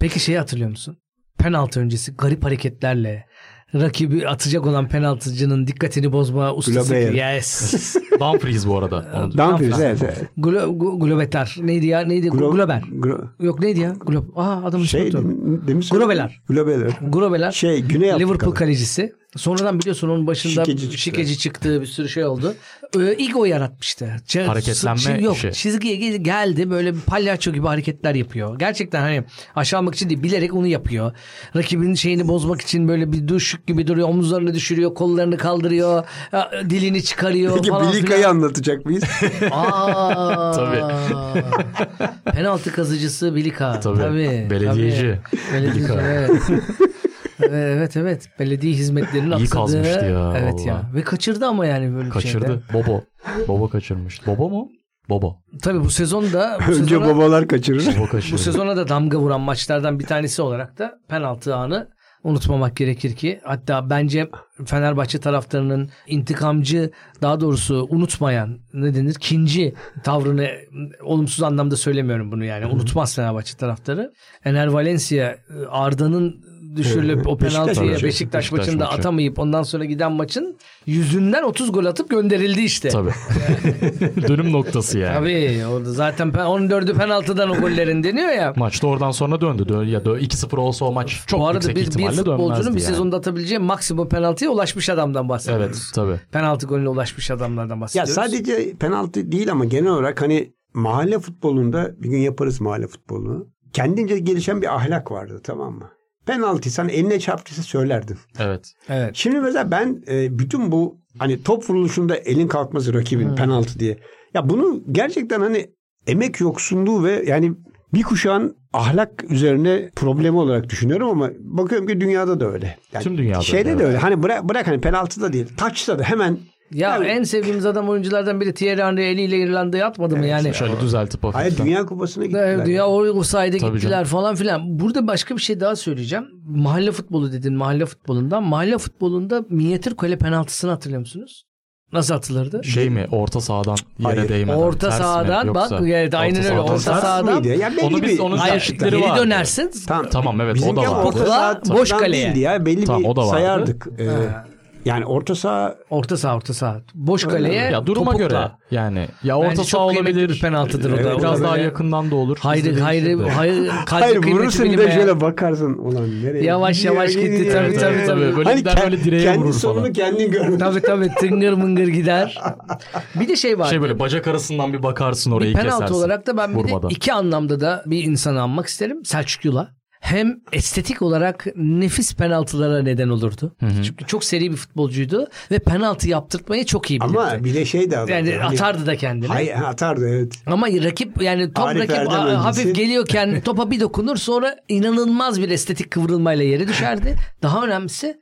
Peki şeyi hatırlıyor musun? Penaltı öncesi garip hareketlerle rakibi atacak olan penaltıcının dikkatini bozma ustası. Globeyer. Yes. Dumfries bu [LAUGHS] arada. Onu- Dumfries evet. evet. Glo, gu- globeter. Neydi ya? Neydi? Glo- Glo- Glober. Gro- Yok neydi ya? Glob. Aa adamın şey, şey demiş. Grobeler. Grobeler. Grobeler. Şey Güney Afrikalı. Liverpool kalecisi. Sonradan biliyorsun onun başında Şikeci şikeci, çıktı. çıktığı bir sürü şey oldu. Ee, ilk o yaratmıştı. Ç- Hareketlenme çi- yok, işi. Çizgiye gel- geldi böyle bir palyaço gibi hareketler yapıyor. Gerçekten hani aşağı almak için değil bilerek onu yapıyor. Rakibinin şeyini bozmak için böyle bir düşük gibi duruyor. Omuzlarını düşürüyor. Kollarını kaldırıyor. ya, Dilini çıkarıyor Peki falan Bilika'yı filan. anlatacak [LAUGHS] mıyız? Aa, Tabii. [LAUGHS] Penaltı kazıcısı Bilika. Tabii. Tabii. Belediyeci. Tabii. Belediyeci Bilika. evet. evet evet. Belediye hizmetlerinin İyi aksadığı- kazmıştı ya, Evet ya. vallahi. Ve kaçırdı ama yani böyle bir şey şeyde. Kaçırdı. Bobo. Bobo kaçırmış. Bobo mu? Bobo. Tabii bu sezon da bu Önce sezona, babalar [LAUGHS] kaçırır. Bobo kaçırdı. bu sezona da damga vuran maçlardan bir tanesi olarak da penaltı anı unutmamak gerekir ki. Hatta bence Fenerbahçe taraftarının intikamcı daha doğrusu unutmayan ne denir kinci tavrını olumsuz anlamda söylemiyorum bunu yani unutmaz Fenerbahçe taraftarı. Ener Valencia Arda'nın düşürülüp Ee, o Beşiktaş penaltıyı Beşiktaş, maçı. Beşiktaş maçında maçı. atamayıp ondan sonra giden maçın yüzünden 30 gol atıp gönderildi işte. Tabii. [LAUGHS] Dönüm noktası yani. Tabii orada zaten pe- 14'ü penaltıdan o gollerin deniyor ya. Maçta oradan sonra döndü. Dö- ya dö- 2-0 olsa o maç çok Bu yüksek arada bir, bir ihtimalle dönmezdi futbolcunun yani. bir sezonda atabileceği maksimum penaltıya ulaşmış adamdan bahsediyoruz. Evet tabii. Penaltı golüne ulaşmış adamlardan Ya bahsediyoruz. sadece penaltı değil ama genel olarak hani mahalle futbolunda bir gün yaparız mahalle futbolunu. Kendince gelişen bir ahlak vardı tamam mı? Penaltıysan eline çarptıysa söylerdin. Evet. Evet. Şimdi mesela ben e, bütün bu hani top vuruluşunda elin kalkması rakibin penaltı diye. Ya bunu gerçekten hani emek yoksunluğu ve yani bir kuşağın ahlak üzerine problemi olarak düşünüyorum ama bakıyorum ki dünyada da öyle. Yani Tüm dünyada Şeyde öyle, de öyle. Hani bırak, bırak hani penaltı da değil. Taçta da hemen Ya Yani- en sevdiğimiz adam oyunculardan biri Thierry Henry eliyle İrlanda'ya atmadı mı yani? Şöyle düzeltip hafiften. Hayır Dünya Kupası'na gittiler. Da- Dünya oraya o sayede Tabii gittiler falan filan. Burada başka bir şey daha söyleyeceğim. Mahalle futbolu dedin mahalle futbolundan. Mahalle futbolunda minyatür kale penaltısını hatırlıyor musunuz? Nasıl atılırdı? Şey mi? Orta sahadan yere Hayır. değmeden. Orta ters mi? sahadan Yoksa- bak evet, aynen öyle sahadan orta ters- sahadan. mıydı? Ya belli Onu biz- bir- onu Hayır, Hayır, Yaşlıkları geri vardı. dönersin. Tamam, evet, o da Bizimki vardı. orta Topla saha boş toplam kaleye. Değildi ya belli Tamam, bir o da vardı. sayardık. Ee, yani orta saha Orta saha orta saha. Boş kaleye Ya duruma topukla. göre yani. Ya Bence orta çok saha kıymetli olabilir. bir penaltıdır o da. Biraz Orada daha böyle- yakından da olur. Hayır İstediğin hayır şekilde. hayır kalbi Hayır kıymeti vurursun bir de bilinmeyen- şöyle bakarsın ulan nereye? Yavaş gidiyor, yavaş gitti, gidiyor, tabii, gidiyor. tabii, tabii. Böyle gider, Hani ke- böyle direğe kendi vurur falan. sonunu kendin görür. Tabii tabii tıngır mıngır gider. Bir de şey var. Şey böyle bacak arasından bir bakarsın orayı bir penaltı kesersin. olarak da ben bir de Vurmadan. iki anlamda da bir insanı anmak isterim. Selçuk Yula. Hem estetik olarak nefis penaltılara neden olurdu. Çünkü çok seri bir futbolcuydu ve penaltı yaptırtmayı çok iyi bilirdi. Ama bir de şey de alırdı. yani Hani- atardı da kendini. Hayır atardı evet. Ama rakip yani top Arif rakip Erdem a- öncesi. hafif geliyorken [LAUGHS] topa bir dokunur sonra inanılmaz bir estetik kıvrılmayla yere düşerdi. Daha önemlisi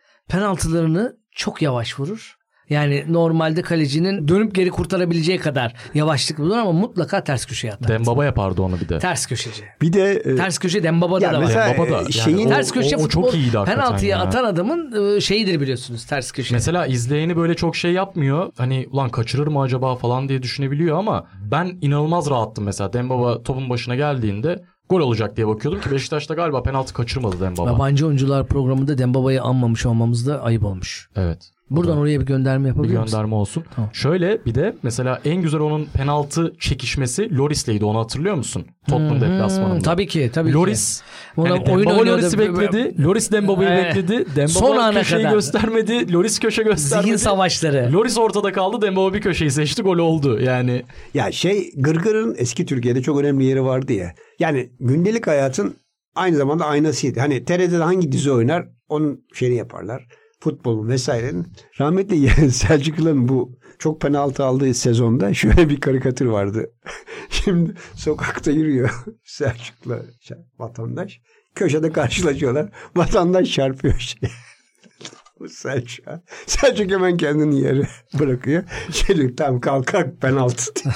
penaltılarını çok yavaş vurur. Yani normalde kalecinin dönüp geri kurtarabileceği kadar yavaşlık bulur ama mutlaka ters köşeye atar. Dembaba yapardı onu bir de. Ters köşeci. Bir de e, Ters köşe Dembaba'da Ya da var. mesela- Dembaba da e, yani şeyin- o- Ters köşe o, o futbol çok iyiydi hakikaten penaltıya ya. atan adamın e, şeyidir biliyorsunuz ters köşe. Mesela izleyeni böyle çok şey yapmıyor. Hani ulan kaçırır mı acaba falan diye düşünebiliyor ama ben inanılmaz rahattım mesela. Dembaba topun başına geldiğinde gol olacak diye bakıyordum ki Beşiktaş'ta galiba penaltı kaçırmadı Dembaba. Yabancı oyuncular programında Dembaba'yı anmamış olmamız da ayıp olmuş. Evet. Buradan oraya bir gönderme bir yapabilir misin? gönderme olsun. Şöyle bir de mesela en güzel onun penaltı çekişmesi Loris'leydi onu hatırlıyor musun? Tottenham deplasmanında. Hmm, tabii ki tabii ki. Loris Ona yani oyun Dembaba oynuyordu. Loris'i bekledi. Loris Dembaba'yı Ee, bekledi. Dembaba son ana köşeyi kadar. göstermedi. Loris köşe göstermedi. Zihin savaşları. Loris ortada kaldı. Dembaba bir köşeyi seçti. Gol oldu. Yani ya şey gırgırın eski Türkiye'de çok önemli yeri vardı ya. Yani gündelik hayatın aynı zamanda aynasıydı. Hani TRT'de hangi dizi oynar onun şeyini yaparlar. Futbolun vesairenin. Rahmetli [LAUGHS] Selçuk Yılan'ın bu çok penaltı aldığı sezonda şöyle bir karikatür vardı. [LAUGHS] Şimdi sokakta yürüyor [LAUGHS] Selçuk'la şey, vatandaş. Köşede karşılaşıyorlar. Vatandaş çarpıyor şey. [LAUGHS] Bu Selçuk'a. Selçuk hemen kendini yere [LAUGHS] bırakıyor. Şey diyor tam kalk kalk penaltı diyor.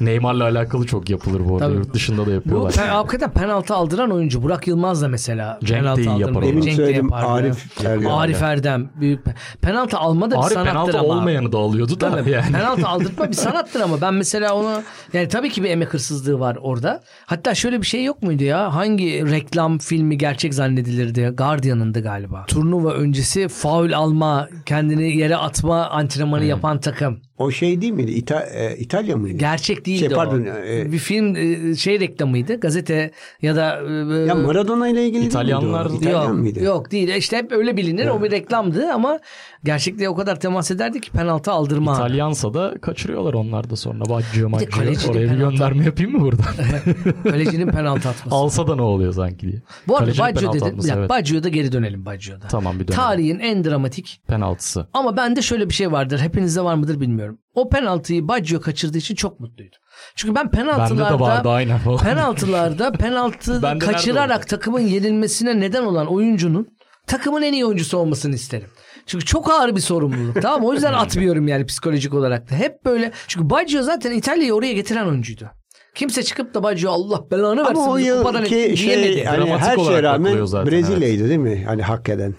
Neymar'la alakalı çok yapılır bu arada. Tabii. Yurt dışında da Bu yapıyorlar. pe- hakikaten penaltı aldıran oyuncu Burak Yılmaz da mesela Cenk de penaltı iyi aldıran yapar oyuncu. onu. Demin Cenk de söyledim yapardı. Arif Ergen. Arif Erdem büyük pe- penaltı alma da bir Arif sanattır penaltı ama. olmayanı da alıyordu da Tabii. yani. Penaltı aldırtma bir sanattır ama ben mesela onu yani tabii ki bir emek hırsızlığı var orada. Hatta şöyle bir şey yok muydu ya? Hangi reklam filmi gerçek zannedilirdi? Guardian'ındı galiba. Turnuva öncesi faul alma, kendini yere atma antrenmanı Hmm. yapan takım. O şey değil miydi? İta- e, İtalya mıydı? Gerçek değildi Şey, pardon, o. e, bir film e, şey reklamıydı. Gazete ya da e, ya Maradona ile ilgili İtalyanlar- değil miydi o? İtalyan Yok, mıydı? yok değil. İşte hep öyle bilinir. O bir reklamdı ama gerçekliğe o kadar temas ederdi ki penaltı aldırma. İtalyansa da kaçırıyorlar onlar da sonra. Baggio, de kaleci Maggio. de Oraya bir penaltı. gönderme yapayım mı [LAUGHS] buradan? [LAUGHS] Kalecinin penaltı atması. Alsa da ne oluyor sanki diye. Bu arada Kalecinin Baggio penaltı dedin. atması, Ya, evet. Baggio'da geri dönelim Baggio'da. Tamam bir dönem. Tarihin en dramatik Penaltısı. ama bende şöyle bir şey vardır. Hepinizde var mıdır bilmiyorum. O penaltıyı Baggio kaçırdığı için çok mutluydum. Çünkü ben Bende penaltılarda de vardı aynen falan. [LAUGHS] penaltılarda Bende penaltı nerede kaçırarak takımın yenilmesine neden olan oyuncunun takımın en iyi oyuncusu olmasını isterim. Çünkü çok ağır bir sorumluluk. tamam mı? o [LAUGHS] yüzden atmıyorum yani psikolojik olarak da. Hep böyle. Çünkü Baggio zaten İtalya'yı oraya getiren oyuncuydu. Kimse çıkıp da Baggio Allah belanı versin Ama o bu kupadan yılki et- şey diyemedi. hani Dramatik her şeye olarak rağmen bakılıyor zaten, Brezilya'ydı değil mi? Hani hak eden.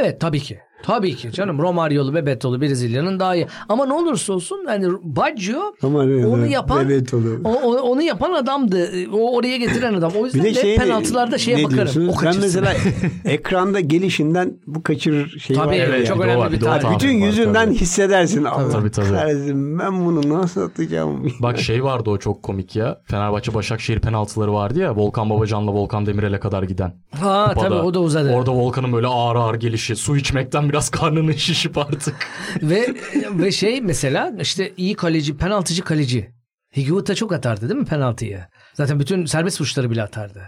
Evet tabii ki. Tabii ki canım Romaryolu, Bebettolu, Brezilya'nın daha iyi. Ama ne olursa olsun yani Baggio Romaryolu, onu yapan Bebettolu. o- o- onu yapan adamdı. O oraya getiren adam. O yüzden de, penaltılarda şeye şey ne bakarım. diyorsunuz? O ben kaçırsın. [LAUGHS] mesela ekranda gelişinden bu kaçırır şeyi Tabii var. ya. evet, çok bir de o önemli var, bir bir de o tarih. var. Bütün Tabii, yüzünden [LAUGHS] tabii. hissedersin. Allah Tabii, tabii. kahretsin ben bunu nasıl atacağım? [LAUGHS] Bak şey vardı o çok komik ya. Fenerbahçe Başakşehir penaltıları vardı ya. Volkan Babacan'la Volkan Demirel'e kadar giden. Ha Kupada. tabii o da uzadı. Orada Volkan'ın böyle ağır ağır gelişi. Su içmekten biraz karnının şişip artık. ve ve şey mesela işte iyi kaleci, penaltıcı kaleci. Higuita çok atardı değil mi penaltıyı? Zaten bütün serbest vuruşları bile atardı.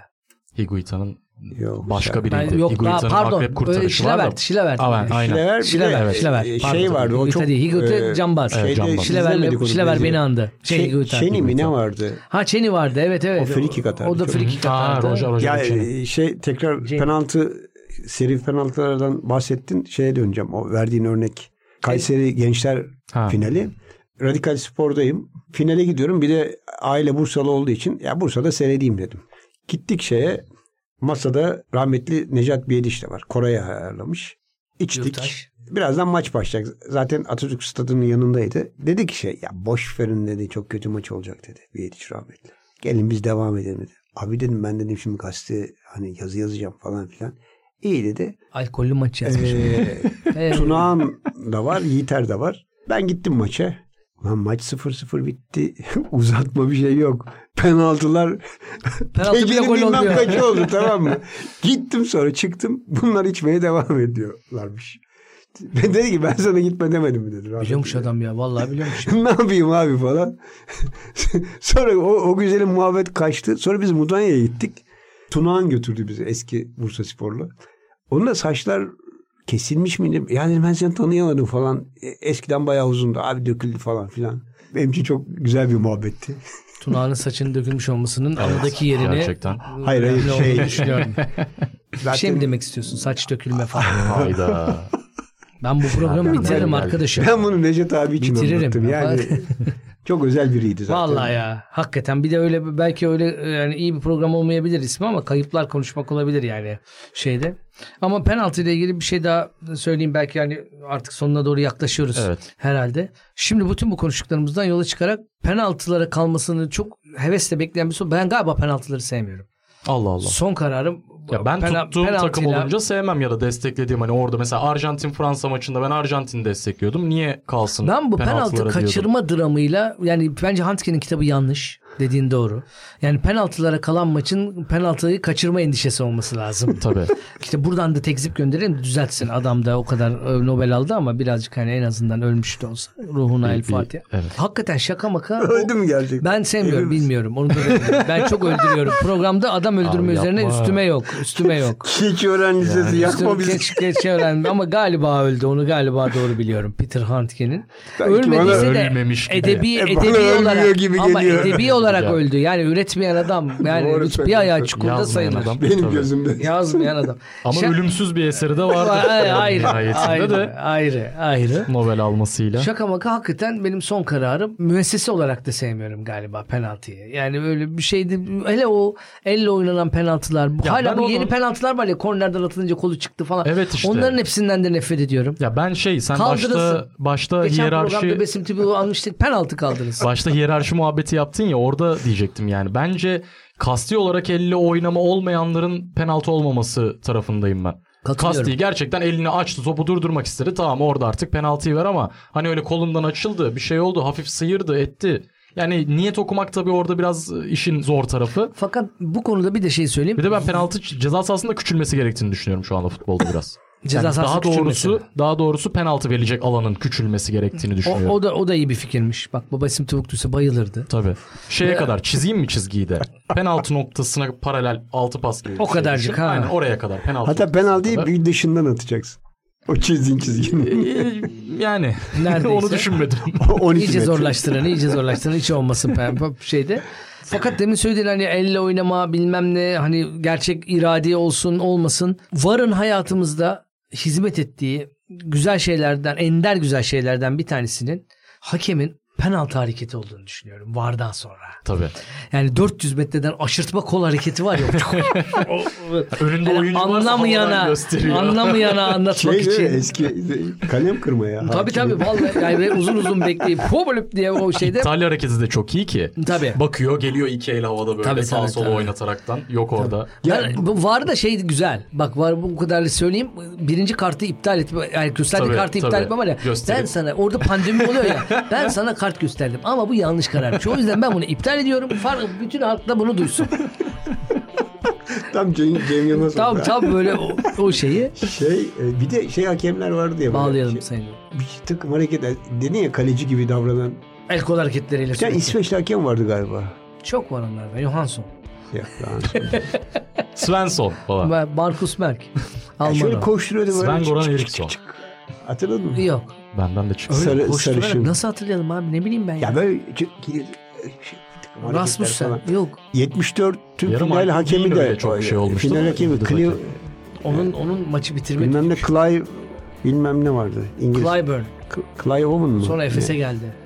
Higuita'nın Yok, başka Ben- biriydi. yok, Higuita'nın daha pardon. akrep Ee, kurtarışı var da. Şilevert, Şilevert. Aven, aynen. Şilever bir Şilever, de Şilever. e, Pardon, şey vardı. O Higuita çok e, değil, Higuita cambaz. Evet, şeyde cambaz. izlemedik Şilever, onu Şilever biz. beni andı. Şey, Şey, Higuita. Şeni mi ne vardı? Ha Çeni vardı evet evet. O free kick atardı O da çok. free kick Aa, atardı. Roger, Roger Ya Lucchini. e, şey tekrar Şey. penaltı seri penaltılardan bahsettin. Şeye döneceğim. O verdiğin örnek. Kayseri Gençler Ha. finali. Radikal Spor'dayım. Finale gidiyorum. Bir de aile Bursalı olduğu için ya Bursa'da seyredeyim dedim. Gittik şeye. Masada rahmetli Necat Biyediş de var. Koray'a ayarlamış. İçtik. Yurttaş. Birazdan maç başlayacak. Zaten Atatürk Stadı'nın yanındaydı. Dedi ki şey ya boş verin dedi çok kötü maç olacak dedi. Biyediş rahmetli. Gelin biz devam edelim dedi. Abi dedim ben dedim şimdi gazete hani yazı yazacağım falan filan. İyi dedi. Alkollü maç yazmış. Ee, Ee, Tunağan da var, Yiğiter de var. Ben gittim maça. Lan maç 0-0 bitti. [LAUGHS] Uzatma bir şey yok. Penaltılar. Penaltı bile Tekelin gol bilmem olmuyor. kaçı oldu [LAUGHS] tamam mı? Gittim sonra çıktım. Bunlar içmeye devam ediyorlarmış. Ben dedi ki ben sana gitme demedim mi dedi. biliyormuş adam ya vallahi [LAUGHS] biliyormuş. ne yapayım abi falan. [LAUGHS] sonra o, o güzelim muhabbet kaçtı. Sonra biz Mudanya'ya gittik. Tunağan götürdü bizi eski Bursa Sporlu. Onun da saçlar kesilmiş miydi? Yani ben seni tanıyamadım falan. E, Eskiden bayağı uzundu. Abi döküldü falan filan. Benim için çok güzel bir muhabbetti. Tunağan'ın saçının dökülmüş olmasının aradaki e, yerini Gerçekten. Hayır, hayır, önemli şey- olduğunu [LAUGHS] düşünüyorum. Zaten Bir şey mi demek istiyorsun? Saç dökülme falan. [LAUGHS] Hayda. [LAUGHS] Ben bu programı Nereden bitiririm geldi? arkadaşım. ben bunu Necdet abi için Bitiririm anlattım. ya. Yani [LAUGHS] çok özel biriydi zaten. Vallahi ya. Hakikaten bir de öyle belki öyle e, yani iyi bir program olmayabilir ismi ama kayıplar konuşmak olabilir yani şeyde. Ama penaltı ile ilgili bir şey daha söyleyeyim belki yani artık sonuna doğru yaklaşıyoruz Evet. herhalde. Şimdi bütün bu konuştuklarımızdan yola çıkarak penaltılara kalmasını çok hevesle bekleyen bir soru. Ben galiba penaltıları sevmiyorum. Allah Allah. Son kararım Ya ben pena- tuttuğum takım penaltıyla- olunca sevmem ya da desteklediğim hani orada mesela Arjantin Fransa maçında ben Arjantin'i destekliyordum. Niye kalsın? Ben bu penaltı penaltılara diyordum. kaçırma dramıyla yani bence Handke'nin kitabı yanlış. Dediğin doğru. Yani penaltılara kalan maçın penaltıyı kaçırma endişesi olması [LAUGHS] lazım. Tabii. işte buradan da tekzip gönderelim düzeltsin. Adam da o kadar e, Nobel aldı ama birazcık hani en azından ölmüş de olsa. Ruhuna el Fatiha. evet. Hakikaten şaka maka. o- Öldü mü gerçekten? ben sevmiyorum bilmiyorum. Onu da bilmiyorum. ben çok öldürüyorum. Programda adam öldürme Abi üzerine yapma. üstüme yok. Üstüme [LAUGHS] yok. Keçi öğren lisesi yakma Üstüne bizi. Geç, geç öğrendim ama galiba öldü. Onu galiba doğru biliyorum. Peter Handke'nin. Sanki Ölmediyse bana de ölmemiş gibi. edebi, E, bana edebi ölmüyor olarak gibi ama geliyor. edebi olarak Ya. öldü. Yani üretmeyen adam yani Doğru bir söylüyorsun. ayağı çukurda Yazmayan sayılır. adam. Benim Tabii. gözümde. Yazmayan adam. Ama Şa- ölümsüz bir eseri de vardı. Ay- Ayrı, ayrı, Nihayetinde ayrı, de ayrı, ayrı. Nobel almasıyla. Şaka maka hakikaten benim son kararım müessese olarak da sevmiyorum galiba penaltıyı. Yani böyle bir şeydi. Hele o elle oynanan penaltılar. Ya hala ben bu onu- yeni penaltılar var ya kornerden atılınca kolu çıktı falan. Evet işte. Onların hepsinden de nefret ediyorum. Ya ben şey sen başta Kaldırılsın. başta Geçen hiyerarşi programda Besim Tibi'yi almıştık. [LAUGHS] Penaltı kaldınız. başta hiyerarşi muhabbeti yaptın ya orada diyecektim yani. Bence kasti olarak elle oynama olmayanların penaltı olmaması tarafındayım ben. Katılıyorum. Kasti gerçekten elini açtı topu durdurmak istedi. Tamam orada artık penaltıyı ver ama hani öyle kolundan açıldı bir şey oldu hafif sıyırdı etti. Yani niyet okumak tabii orada biraz e, işin zor tarafı. Fakat bu konuda bir de şey söyleyeyim. Bir de ben penaltı ceza sahasında küçülmesi gerektiğini düşünüyorum şu anda futbolda biraz. Ceza Yani sahası daha doğrusu küçülmesi. daha doğrusu penaltı verilecek alanın küçülmesi gerektiğini o, düşünüyorum. o da o da iyi bir fikirmiş. Bak baba isim Tavuk duysa bayılırdı. Tabii. Şeye kadar çizeyim mi çizgiyi de? Penaltı noktasına paralel 6 pas gibi. bir O şey kadarcık düşün. ha. Aynen oraya kadar penaltı. Hatta noktasına penaltıyı kadar. bir dışından atacaksın. O çizdiğin çizgini. [LAUGHS] Ee, yani Neredeyse. onu [LAUGHS] düşünmedim. 12 İyice metre. zorlaştıran, iyice zorlaştıran hiç olmasın pe- pe- şeyde. Fakat demin söylediğin hani elle oynama bilmem ne hani gerçek iradi olsun olmasın. Varın hayatımızda hizmet ettiği güzel şeylerden, ender güzel şeylerden bir tanesinin hakemin penaltı hareketi olduğunu düşünüyorum VAR'dan sonra. Tabii. Yani 400 metreden aşırtma kol hareketi var ya. [LAUGHS] Önünde yani oyuncu varsa havadan anlamayana, gösteriyor. anlamayana anlatmak Şey değil mi? için. eski e, kalem kırma ya. Tabii tabii vallahi yani böyle uzun uzun bekleyip hopolup diye o [LAUGHS] şeyde İtalya hareketi de çok iyi ki. Tabii. Bakıyor geliyor iki el havada böyle Tabii, sağa tabii, sola tabii. oynataraktan. Yok orada. Yani bu var da şey güzel. Bak var bu kadar söyleyeyim. Birinci kartı iptal etme. Yani gösterdiği Tabii, kartı tabii. iptal etme var ya. Gösterip. Ben sana orada pandemi oluyor ya. [LAUGHS] ben sana kart gösterdim ama bu yanlış kararmış. O yüzden ben bunu iptal ediyorum. Fark, bütün halk da [LAUGHS] bunu duysun. Tam Cem, Cem Yılmaz tam oldu. tam böyle o, o şeyi Şey e, bir de şey hakemler vardı ya. böyle. bağlayalım Şey, sayın. bir takım hareket dedin ya kaleci gibi davranan. El kol hareketleriyle. Bir tane sürekli. İsveçli hakem vardı galiba. Çok var onlarda. Johansson. Ya, lan. Svensson falan. Ve Markus [LAUGHS] Merk. Alman. Şöyle o. koşturuyordu böyle. Sven çık, Goran çık, çık, Eriksson. çık. Hatırladın mı? Yok. Benden de çıktı. Öyle Sarı- Koşturarak sarışın. Nasıl hatırlayalım abi ne bileyim ben ya. Ya böyle çık, gidiyor, şey, bir takım hareketler Rasmussen. falan. Yok. 74 tüm Yarım final ay hakemi değil de öyle çok şey olmuştu Final da, hakemi yıldız Clive, hakemi. Onun onun maçı bitirmek. bilmem ne Clive bilmem ne vardı. İngiliz. Clive, Clyburn. Clive Owen mu? Sonra [LAUGHS] Efes'e geldi.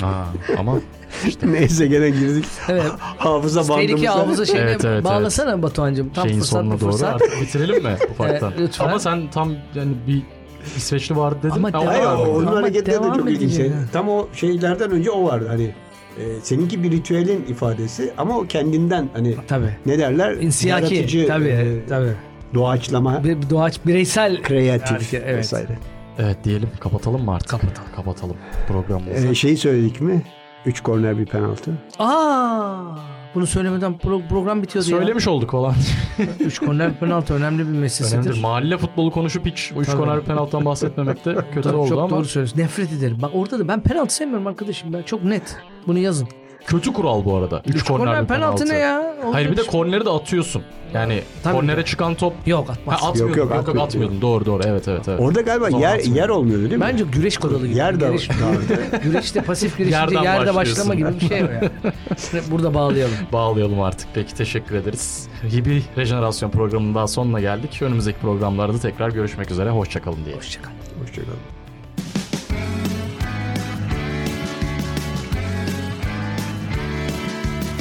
Ha, ama Neyse [LAUGHS] gene girdik. [LAUGHS] Evet. Hafıza Tehlike bandımıza. havuza şeyine Evet, evet, bağlasana Batuhan'cığım. Tam şeyin fırsat bu sonuna doğru fırsat. artık bitirelim [LAUGHS] mi ufaktan? Evet, lütfen. Ama sen tam yani bir İsveçli vardı dedin. Ama Ben devam- Hayır ona o- bakmadım. onun Ama hareketleri de devam çok ilginç. ediyor. Yani Tam o şeylerden önce o vardı hani. e, seninki bir ritüelin ifadesi ama o kendinden hani Tabii. ne derler? İnsiyaki. Yaratıcı, Tabii. e, tabii. Doğaçlama, Bir doğaç bireysel kreatif Hareket, evet. vesaire. Evet diyelim kapatalım mı artık? Kapatalım. Kapatalım programımızı. E, şeyi söyledik mi? 3 korner bir penaltı. Aa! Bunu söylemeden pro- program bitiyordu ya. Söylemiş olduk falan. Üç korner penaltı önemli bir Önemlidir. meselesidir. Mahalle futbolu konuşup hiç o üç Tabii. konar penaltıdan bahsetmemek [LAUGHS] de kötü Tabii, oldu çok ama doğru söylüyorsun. Nefret ederim. Bak orada da ben penaltı sevmiyorum arkadaşım. Ben çok net. Bunu yazın. kötü kural bu arada. Üç, Üç korner, korner bir penaltı, ne ya? Olacak Hayır bir de şey- korneri de atıyorsun. Yani Tabii. kornere çıkan top Yok Ha, atmaz. atmıyordun. Yok Yok, yok, yok, atmıyordun. atmıyordun. Doğru doğru. Evet evet evet. Orada galiba Zaman yer atmıyor. yer olmuyor değil mi? Bence güreş kodalı gibi. Yer de- güreş, [LAUGHS] güreşte pasif girişimde Yerden yerde başlıyorsun. başlama gibi bir şey o [LAUGHS] ya. Burada bağlayalım. Bağlayalım artık. Peki teşekkür ederiz. Hibi Rejenerasyon programının daha sonuna geldik. Önümüzdeki programlarda tekrar görüşmek üzere. Hoşçakalın diye. Hoşçakalın. Hoşçakalın.